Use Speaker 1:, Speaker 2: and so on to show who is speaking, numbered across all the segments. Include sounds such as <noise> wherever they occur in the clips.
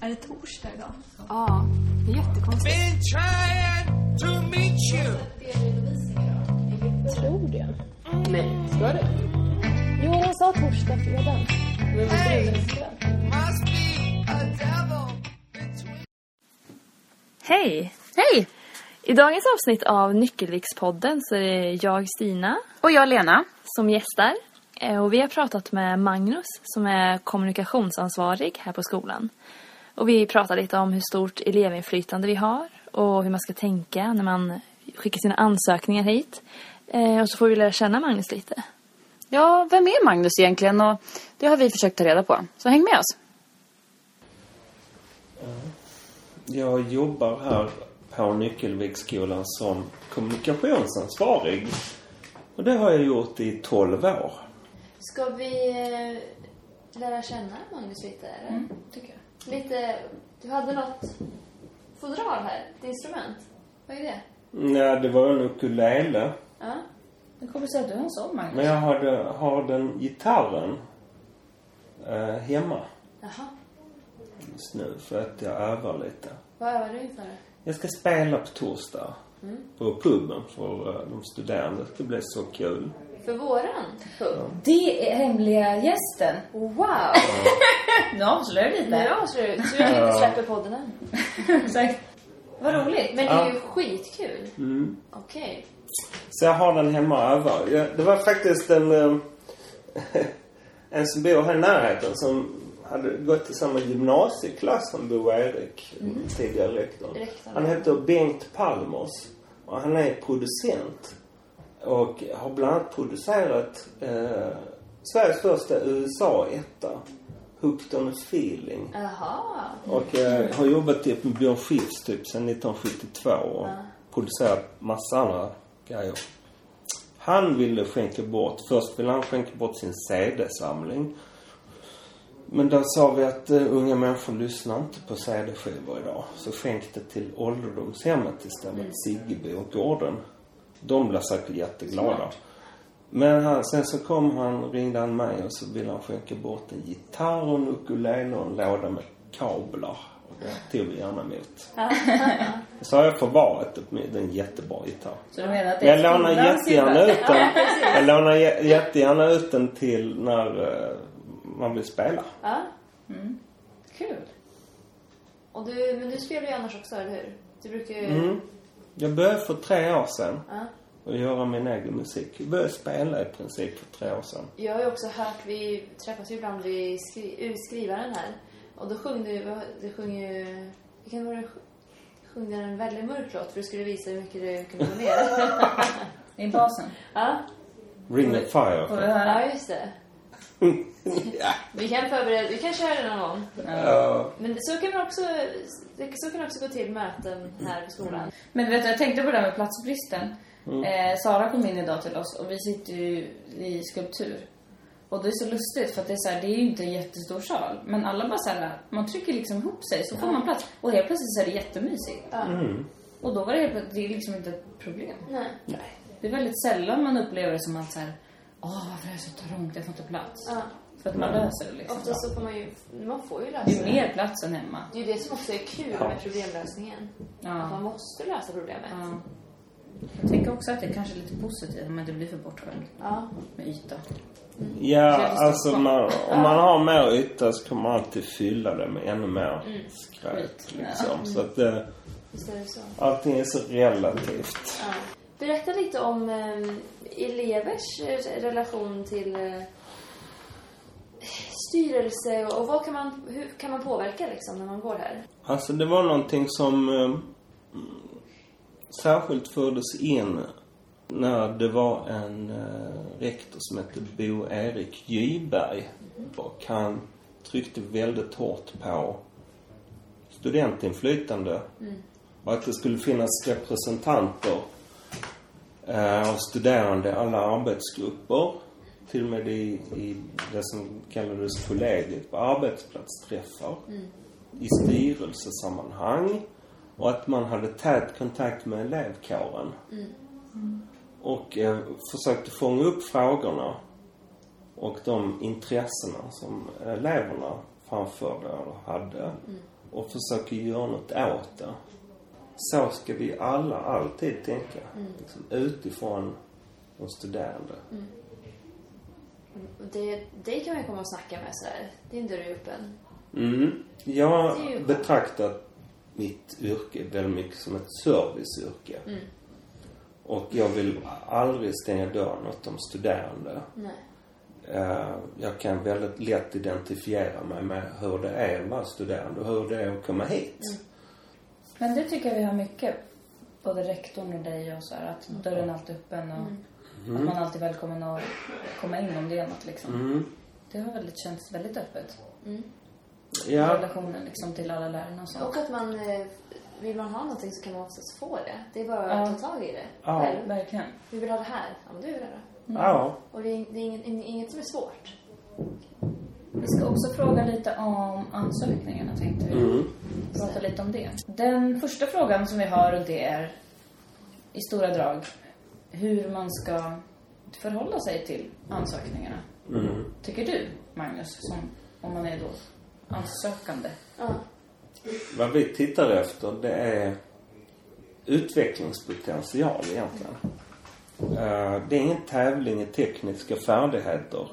Speaker 1: Är det torsdag idag?
Speaker 2: Ja, det är jättekonstigt.
Speaker 3: Been trying to meet you.
Speaker 4: Tror det. Nej. Ska det? Jo, hon sa torsdag, fredag. Men vad
Speaker 3: Hey.
Speaker 4: är det?
Speaker 3: Must be a devil between.
Speaker 5: Hej!
Speaker 2: Hej!
Speaker 5: I dagens avsnitt av Nyckelvikspodden så är det jag, Stina,
Speaker 2: Och jag Lena.
Speaker 5: som gästar. Eh, Och vi har pratat med Magnus som är kommunikationsansvarig här på skolan. Och vi pratar lite om hur stort elevinflytande vi har och hur man ska tänka när man skickar sina ansökningar hit. Eh, Och så får vi lära känna Magnus lite.
Speaker 2: Ja, vem är Magnus egentligen? Och det har vi försökt ta reda på. Så häng med oss.
Speaker 6: Jag jobbar här på Nyckelviksskolan som kommunikationsansvarig. Och det har jag gjort i 12 år.
Speaker 1: Ska vi eh, lära känna Magnus lite? Eller?
Speaker 7: Mm,
Speaker 1: tycker jag. Lite, du hade något fodral här, ett instrument. Vad är det?
Speaker 6: Nej, det var en ukulele.
Speaker 1: Ja.
Speaker 7: Hur kommer det sig att du har en sån Magnus?
Speaker 6: Men jag hade, har den gitarren eh, hemma
Speaker 1: Jaha.
Speaker 6: just nu för att jag övar lite.
Speaker 1: Vad övar du inför?
Speaker 6: Jag ska spela på torsdag
Speaker 7: Mm.
Speaker 6: på puben för eh, de studerande. Det blir så kul.
Speaker 1: För våran pub?
Speaker 7: Det är hemliga gästen.
Speaker 1: Wow!
Speaker 7: <laughs> Nu avslöjar vi
Speaker 1: Nu
Speaker 7: lite.
Speaker 1: avslöjar du. Tur att vi inte släpper podden än.
Speaker 7: <laughs> Exakt. Vad roligt.
Speaker 1: Men det är ju skitkul. Okej.
Speaker 6: Så jag har den hemma och övar. Jag, det var faktiskt en, eh, <laughs> en som bor här i närheten som hade gått i samma gymnasieklass som Bo och Erik, tidigare rektorn.
Speaker 1: Rektorn.
Speaker 6: Han heter Bengt Palmers och han är producent. Och har bland annat producerat eh, Sveriges första USA-etta, Hooked on a feeling.
Speaker 1: Jaha.
Speaker 6: Och eh, har jobbat typ med Björn Skifs typ sedan 1972 och producerat massa andra grejer. Han ville skänka bort, först ville han skänka bort sin CD-samling. Men där sa vi att eh, unga människor lyssnar inte på CD-skivor idag. Så skänk det till ålderdomshemmet istället,
Speaker 7: Mm.
Speaker 6: Siggeby och Gården. De blev säkert jätteglada. Men han, sen så kom han, ringde han mig och så ville han skänka bort en gitarr och en ukulele och en låda med kablar. Och det tog vi gärna emot. <laughs> så har jag förvarat det med en jättebra gitarr.
Speaker 7: Så du menar att det
Speaker 6: Jag
Speaker 7: är
Speaker 6: lånar
Speaker 7: skolans
Speaker 6: jättegärna
Speaker 7: sida?
Speaker 6: ut den. Jag lånar jä- jättegärna ut den till när eh, man vill spela.
Speaker 1: Ja.
Speaker 7: Kul.
Speaker 1: Mm. Och du, men du spelar ju annars också, eller hur? Du brukar ju...
Speaker 6: Mm. Jag började för tre år sedan
Speaker 1: Ja.
Speaker 6: att göra min egen musik. Jag började spela i princip för tre år sedan.
Speaker 1: Jag har ju också hört, vi träffas ju ibland vid skri, ur skrivaren här. Och då sjöng du, vad- du sjöng ju, vilken var det, sjöng du en väldigt mörk låt för du skulle visa hur mycket du kunde gå ner.
Speaker 7: Det är basen.
Speaker 1: ja,
Speaker 6: Ring of Fire.
Speaker 7: Får vi höra?
Speaker 1: ja, just det. Vi kan förbereda, vi kan köra det någon gång.
Speaker 6: <laughs> Ja.
Speaker 1: Men så kan man också, det- så kan det också gå till möten här på skolan.
Speaker 7: Men vet du, jag tänkte på det här med platsbristen. Eh, Sara kom in idag till oss och vi sitter ju i skulptur. Och det är så lustigt för att det är så här, det är ju inte en jättestor sal. Men alla bara så här, man trycker liksom ihop sig så får man plats. Och helt plötsligt så är det jättemysigt. Och då var det helt plötsligt, det är liksom inte ett problem.
Speaker 1: Nej.
Speaker 7: Det är väldigt sällan man upplever det som att så här, åh varför är det så trångt, jag får inte plats.
Speaker 1: Ja.
Speaker 7: För att man löser det liksom.
Speaker 1: Ofta så får man ju, man får ju lösa
Speaker 7: Det är
Speaker 1: det.
Speaker 7: mer plats än hemma.
Speaker 1: Det är ju det som också är kul med problemlösningen. Att
Speaker 7: Ja.
Speaker 1: man måste lösa problemet.
Speaker 7: ja. Jag tänker också att det kanske är lite positivt om man inte blir för bortskämd
Speaker 1: Ja.
Speaker 7: med yta.
Speaker 6: Ja,
Speaker 7: Trevligt
Speaker 6: alltså
Speaker 7: Stockholm.
Speaker 6: man, om man har mer yta så kommer man alltid fylla det med ännu mer skräp.
Speaker 7: Skit.
Speaker 6: Liksom. Så att eh,
Speaker 1: Visst är det så.
Speaker 6: allting är så relativt.
Speaker 1: Ja. Berätta lite om eh, elevers eh, relation till eh, styrelse och, och vad kan man, hur kan man påverka liksom när man går här?
Speaker 6: Alltså det var någonting som eh, mm, särskilt fördes in när det var en eh, rektor som hette Bo Erik Gyberg. Och han tryckte väldigt hårt på studentinflytande. Och att det skulle finnas representanter eh, av studerande i alla arbetsgrupper. Till och med i, i det som kallades kollegiet på arbetsplatsträffar i styrelsesammanhang och att man hade tät kontakt med elevkåren. Och eh, försökte fånga upp frågorna och de intressena som eleverna framförde eller hade. och försöker göra något åt det. Så ska vi alla alltid tänka. Liksom, utifrån de studerande.
Speaker 1: Och det, det kan man ju komma och snacka med sådär. Din dörr är öppen.
Speaker 6: Mm. Jag
Speaker 1: Det är ju skönt.
Speaker 6: betraktar mitt yrke väldigt mycket som ett serviceyrke.
Speaker 1: Mm.
Speaker 6: Och jag vill aldrig stänga dörren åt de studerande.
Speaker 1: Nej.
Speaker 6: Eh, Jag kan väldigt lätt identifiera mig med hur det är att vara studerande och hur det är att komma hit.
Speaker 7: Men det tycker jag vi har mycket, både rektorn och dig och så här, att dörren är alltid öppen och
Speaker 6: Mm.
Speaker 7: att man alltid är välkommen att komma in om det är något liksom.
Speaker 6: Mm.
Speaker 7: Det har väldigt känts väldigt öppet.
Speaker 1: Mm.
Speaker 6: Ja,
Speaker 7: Relationen liksom till alla lärarna och så.
Speaker 1: Och att man... eh, Vill man ha någonting så kan man oftast få det. Det är bara
Speaker 7: Ja.
Speaker 1: att ta tag i det.
Speaker 6: Ja.
Speaker 1: Själv.
Speaker 7: Verkligen.
Speaker 1: Vi vill ha det här. Ja, men du vill ha det.
Speaker 6: ja.
Speaker 1: Och det är, det är inget, inget som är svårt.
Speaker 7: Vi ska också fråga lite om ansökningarna tänkte vi. Prata lite om det. Den första frågan som vi har och det är i stora drag hur man ska förhålla sig till ansökningarna. Tycker du, Magnus, som, om man är då ansökande?
Speaker 1: Ja.
Speaker 6: Vad vi tittar efter det är utvecklingspotential egentligen. Eh, Det är ingen tävling i tekniska färdigheter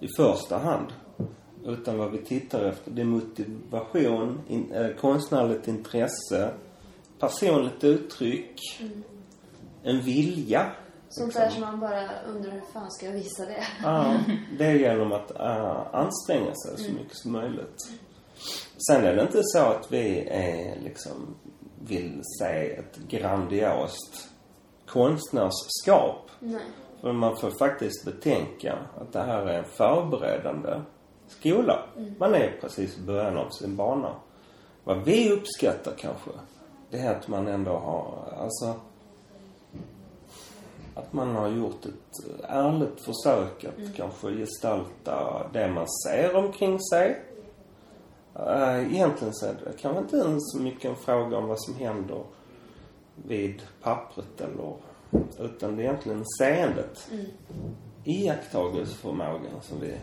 Speaker 6: i första hand. Utan vad vi tittar efter det är motivation, in, eh, konstnärligt intresse, personligt uttryck, en vilja.
Speaker 1: Sånt
Speaker 6: Liksom.
Speaker 1: där som man bara undrar hur fan ska jag visa det? <laughs>
Speaker 6: Ja, det är genom att eh, anstränga sig så mycket som möjligt. Sen är det inte så att vi är, liksom, vill se ett grandiost konstnärsskap.
Speaker 1: Nej.
Speaker 6: För man får faktiskt betänka att det här är en förberedande skola. Man är precis i början av sin bana. Vad vi uppskattar kanske, det är att man ändå har, alltså, att man har gjort ett ärligt försök att kanske gestalta det man ser omkring sig. Eh, Egentligen så är det kanske inte ens så mycket en fråga om vad som händer vid pappret eller utan det är egentligen seendet. Iakttagelseförmågan som vi...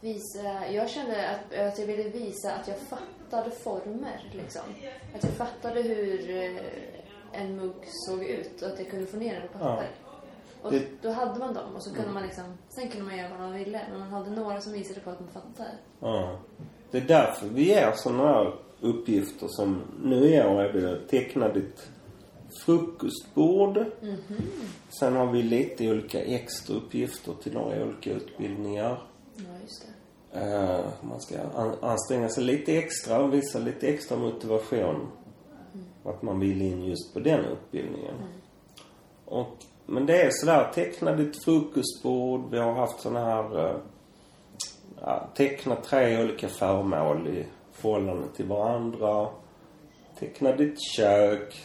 Speaker 1: Visa, jag kände att, att jag ville visa att jag fattade former. Liksom. Att jag fattade hur eh, en mugg såg ut och att jag kunde få ner den på papper. Och
Speaker 6: Det- Mm.
Speaker 1: då hade man dem och så kunde man liksom, sen kunde man göra vad man ville. Men man hade några som visade på att man fattar.
Speaker 6: Ja. Det är därför vi ger sådana här uppgifter som nu i år är det teckna ditt frukostbord. Sen har vi lite olika extra uppgifter till några olika utbildningar.
Speaker 1: Ja, just det.
Speaker 6: Eh, man ska an- anstränga sig lite extra och visa lite extra motivation. Att man vill in just på den utbildningen. Och, men det är sådär, teckna ditt fokusbord. Vi har haft såna här, eh, ja, teckna tre olika föremål i förhållande till varandra. Teckna ditt kök.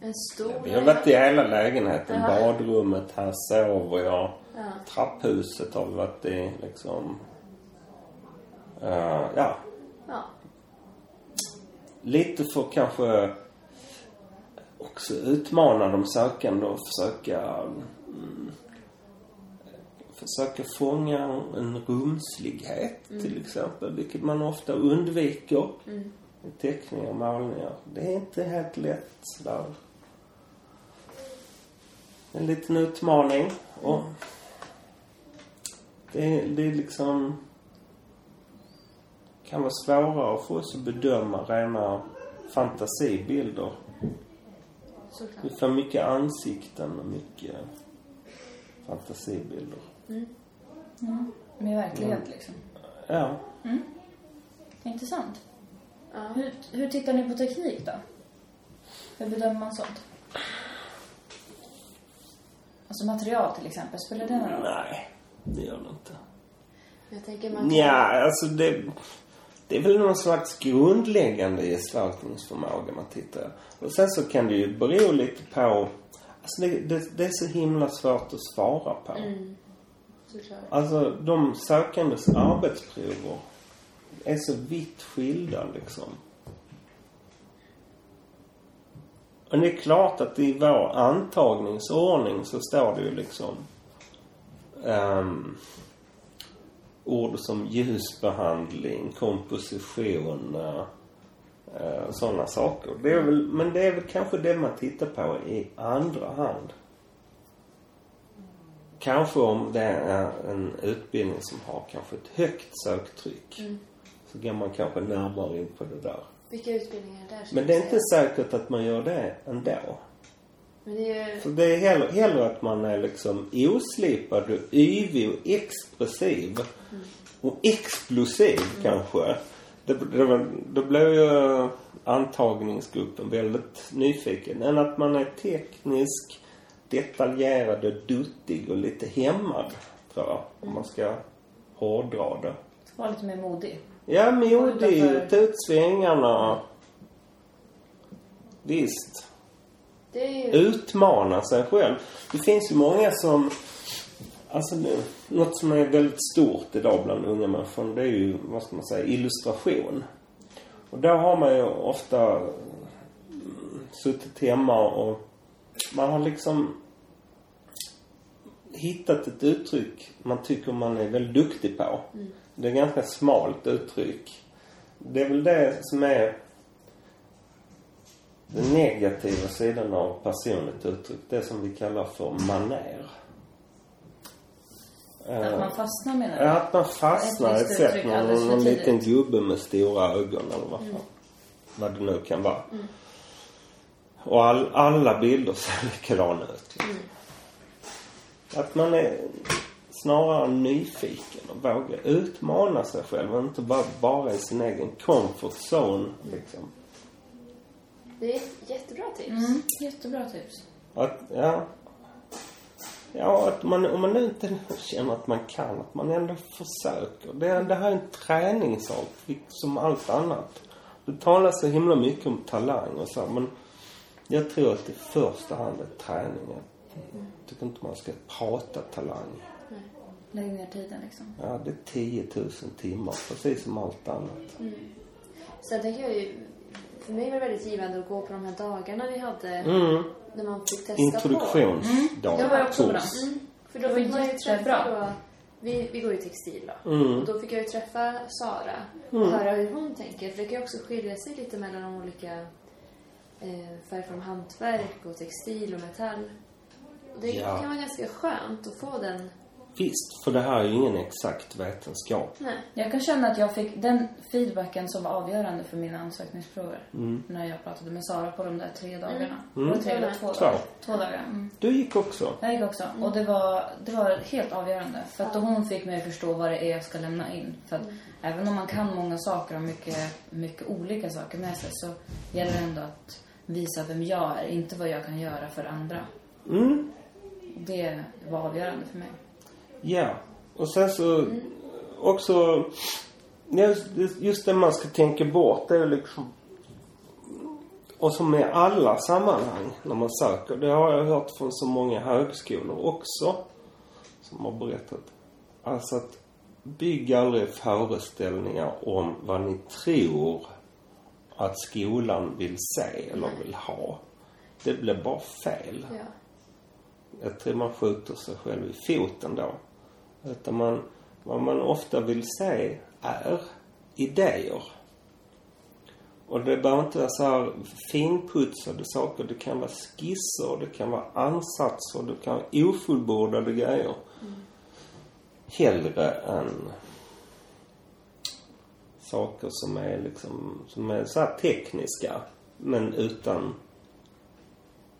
Speaker 1: En stor...
Speaker 6: Vi har varit i hela lägenheten. Badrummet, här sover jag. Trapphuset har vi varit i liksom. Eh, ja,
Speaker 1: Ja.
Speaker 6: lite för kanske också utmana de sökande och försöka mm, försöka fånga en rumslighet till exempel, vilket man ofta undviker i teckningar och målningar. Det är inte helt lätt sådär. En liten utmaning. Och det, är- det är liksom kan vara svårare för oss att bedöma rena fantasibilder.
Speaker 1: Såklart.
Speaker 6: Vi får mycket ansikten och mycket fantasibilder.
Speaker 7: Med verklighet liksom.
Speaker 6: Ja.
Speaker 7: Intressant.
Speaker 1: Ja.
Speaker 7: Hur, hur tittar ni på teknik då? Hur bedömer man sånt? Alltså material till exempel, spelar det någon roll?
Speaker 6: Nej, det gör det inte.
Speaker 1: Jag tänker man...
Speaker 6: Nja, alltså det... Det är väl någon slags grundläggande gestaltningsförmåga man tittar. Och sen så kan det ju bero lite på... Alltså det, det, det är så himla svårt att svara på.
Speaker 1: Såklart.
Speaker 6: Alltså, de sökandes arbetsprover är så vitt skilda, liksom. Och det är klart att i vår antagningsordning så står det ju liksom ehm, ord som ljusbehandling, komposition, eh, Eh, och sådana saker. Det är väl, men det är väl kanske det man tittar på i andra hand. Kanske om det är en utbildning som har kanske ett högt söktryck. Så går man kanske närmare in på det där.
Speaker 1: Vilka utbildningar är det där? skulle
Speaker 6: Men det är
Speaker 1: du
Speaker 6: inte
Speaker 1: säga?
Speaker 6: säkert att man gör det ändå.
Speaker 1: Men det är ju...
Speaker 6: För det är hellre, hellre att man är liksom oslipad och yvig och expressiv. Och explosiv kanske. Det, det, var- då blev ju antagningsgruppen väldigt nyfiken. Än att man är teknisk, detaljerad och duttig och lite hämmad. Tror jag. Om man ska hårdra det.
Speaker 7: Var lite mer modig.
Speaker 6: Ja, men jo,
Speaker 7: Hålla
Speaker 6: det är ju
Speaker 7: för-
Speaker 6: ta ut svängarna. Visst
Speaker 1: Det är ju...
Speaker 6: utmana sig själv. Det finns ju många som... Alltså, det- något som är väldigt stort idag bland unga människor, det är ju, vad ska man säga, illustration. Och där har man ju ofta mm, suttit hemma och man har liksom hittat ett uttryck man tycker man är väldigt duktig på. Det är ett ganska smalt uttryck. Det är väl det som är den negativa sidan av personligt uttryck, det som vi kallar för maner.
Speaker 7: Att man fastnar med
Speaker 6: Ja,
Speaker 7: det.
Speaker 6: att man fastnar i
Speaker 7: Ett
Speaker 6: ett
Speaker 7: visst
Speaker 6: sätt.
Speaker 7: uttryck
Speaker 6: Någon,
Speaker 7: alldeles för
Speaker 6: någon
Speaker 7: tidigt.
Speaker 6: liten gubbe med stora ögon eller vad, fan, vad det nu kan vara.
Speaker 7: Mm.
Speaker 6: Och all, alla bilder ser <laughs> likadana ut.
Speaker 7: Mm.
Speaker 6: liksom. Att man är snarare nyfiken och vågar utmana sig själv. och Inte bara, bara i sin egen comfort zone. Liksom.
Speaker 1: Det är ett jättebra tips.
Speaker 7: Mm, jättebra tips.
Speaker 6: Att, ja. Ja, att man, om man nu inte känner att man kan, att man ändå försöker. Det, det här är en träningssak, som allt annat. Det talas så himla mycket om talang och så, men jag tror att det i första hand är träning. Jag tycker inte man ska prata talang.
Speaker 7: Lägg ner tiden liksom.
Speaker 6: Ja, det är 10 000 timmar, precis som allt annat.
Speaker 1: Sen tänker jag ju... För mig var det väldigt givande att gå på de här dagarna vi hade.
Speaker 6: Mm.
Speaker 1: När man fick testa på.
Speaker 6: Introduktionsdag,
Speaker 7: Det var också bra.
Speaker 6: kurs.
Speaker 1: Mm. För då
Speaker 7: Det var
Speaker 1: fick man ju
Speaker 7: jättebra.
Speaker 1: träffa då, vi, vi går ju textil då.
Speaker 6: Mm.
Speaker 1: Och då fick jag ju träffa Sara och höra hur hon tänker. För det kan ju också skilja sig lite mellan de olika eh, färg från hantverk och textil och metall. Och det
Speaker 6: Ja.
Speaker 1: kan vara ganska skönt att få den...
Speaker 6: Visst, för det här är ju ingen exakt vetenskap.
Speaker 1: Nej.
Speaker 7: Jag kan känna att jag fick den feedbacken som var avgörande för mina ansökningsprover. När jag pratade med Sara på de där tre dagarna. Det var tre eller två
Speaker 6: Två.
Speaker 7: dagar. Två dagar. Mm.
Speaker 6: Du gick också.
Speaker 7: Jag gick också. Och det var, det var helt avgörande. För att då hon fick mig att förstå vad det är jag ska lämna in. För att även om man kan många saker och mycket, mycket olika saker med sig så gäller det ändå att visa vem jag är, inte vad jag kan göra för andra.
Speaker 6: Mm.
Speaker 7: Det var avgörande för mig.
Speaker 6: Ja. Och sen så också... Just, just det man ska tänka bort det är liksom... Och som i alla sammanhang när man söker. Det har jag hört från så många högskolor också. Som har berättat. Alltså att bygg aldrig föreställningar om vad ni tror att skolan vill se eller vill ha. Det blir bara fel.
Speaker 1: Ja.
Speaker 6: jag tror man skjuter sig själv i foten då. Utan man, vad man ofta vill se är idéer. Och det behöver inte vara så här finputsade saker. Det kan vara skisser, det kan vara ansatser, det kan vara ofullbordade grejer. Hellre än saker som är liksom, som är så här tekniska men utan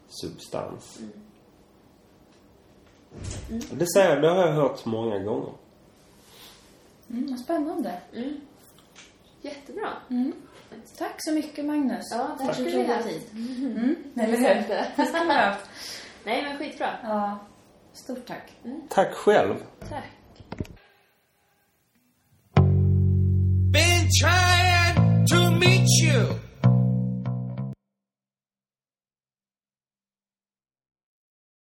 Speaker 6: substans. Det säger jag, det har jag hört så många gånger.
Speaker 7: Mm, vad spännande.
Speaker 1: Jättebra.
Speaker 7: Tack så mycket Magnus.
Speaker 1: Ja, det här
Speaker 7: Mm. Tack.
Speaker 1: skulle vi ha.
Speaker 7: tid. Mm, eller hur?
Speaker 1: <laughs>
Speaker 7: Det skulle vi ha.
Speaker 1: Nej, men skitbra.
Speaker 7: Ja. Stort tack.
Speaker 6: Tack själv.
Speaker 1: Tack.
Speaker 3: Been trying.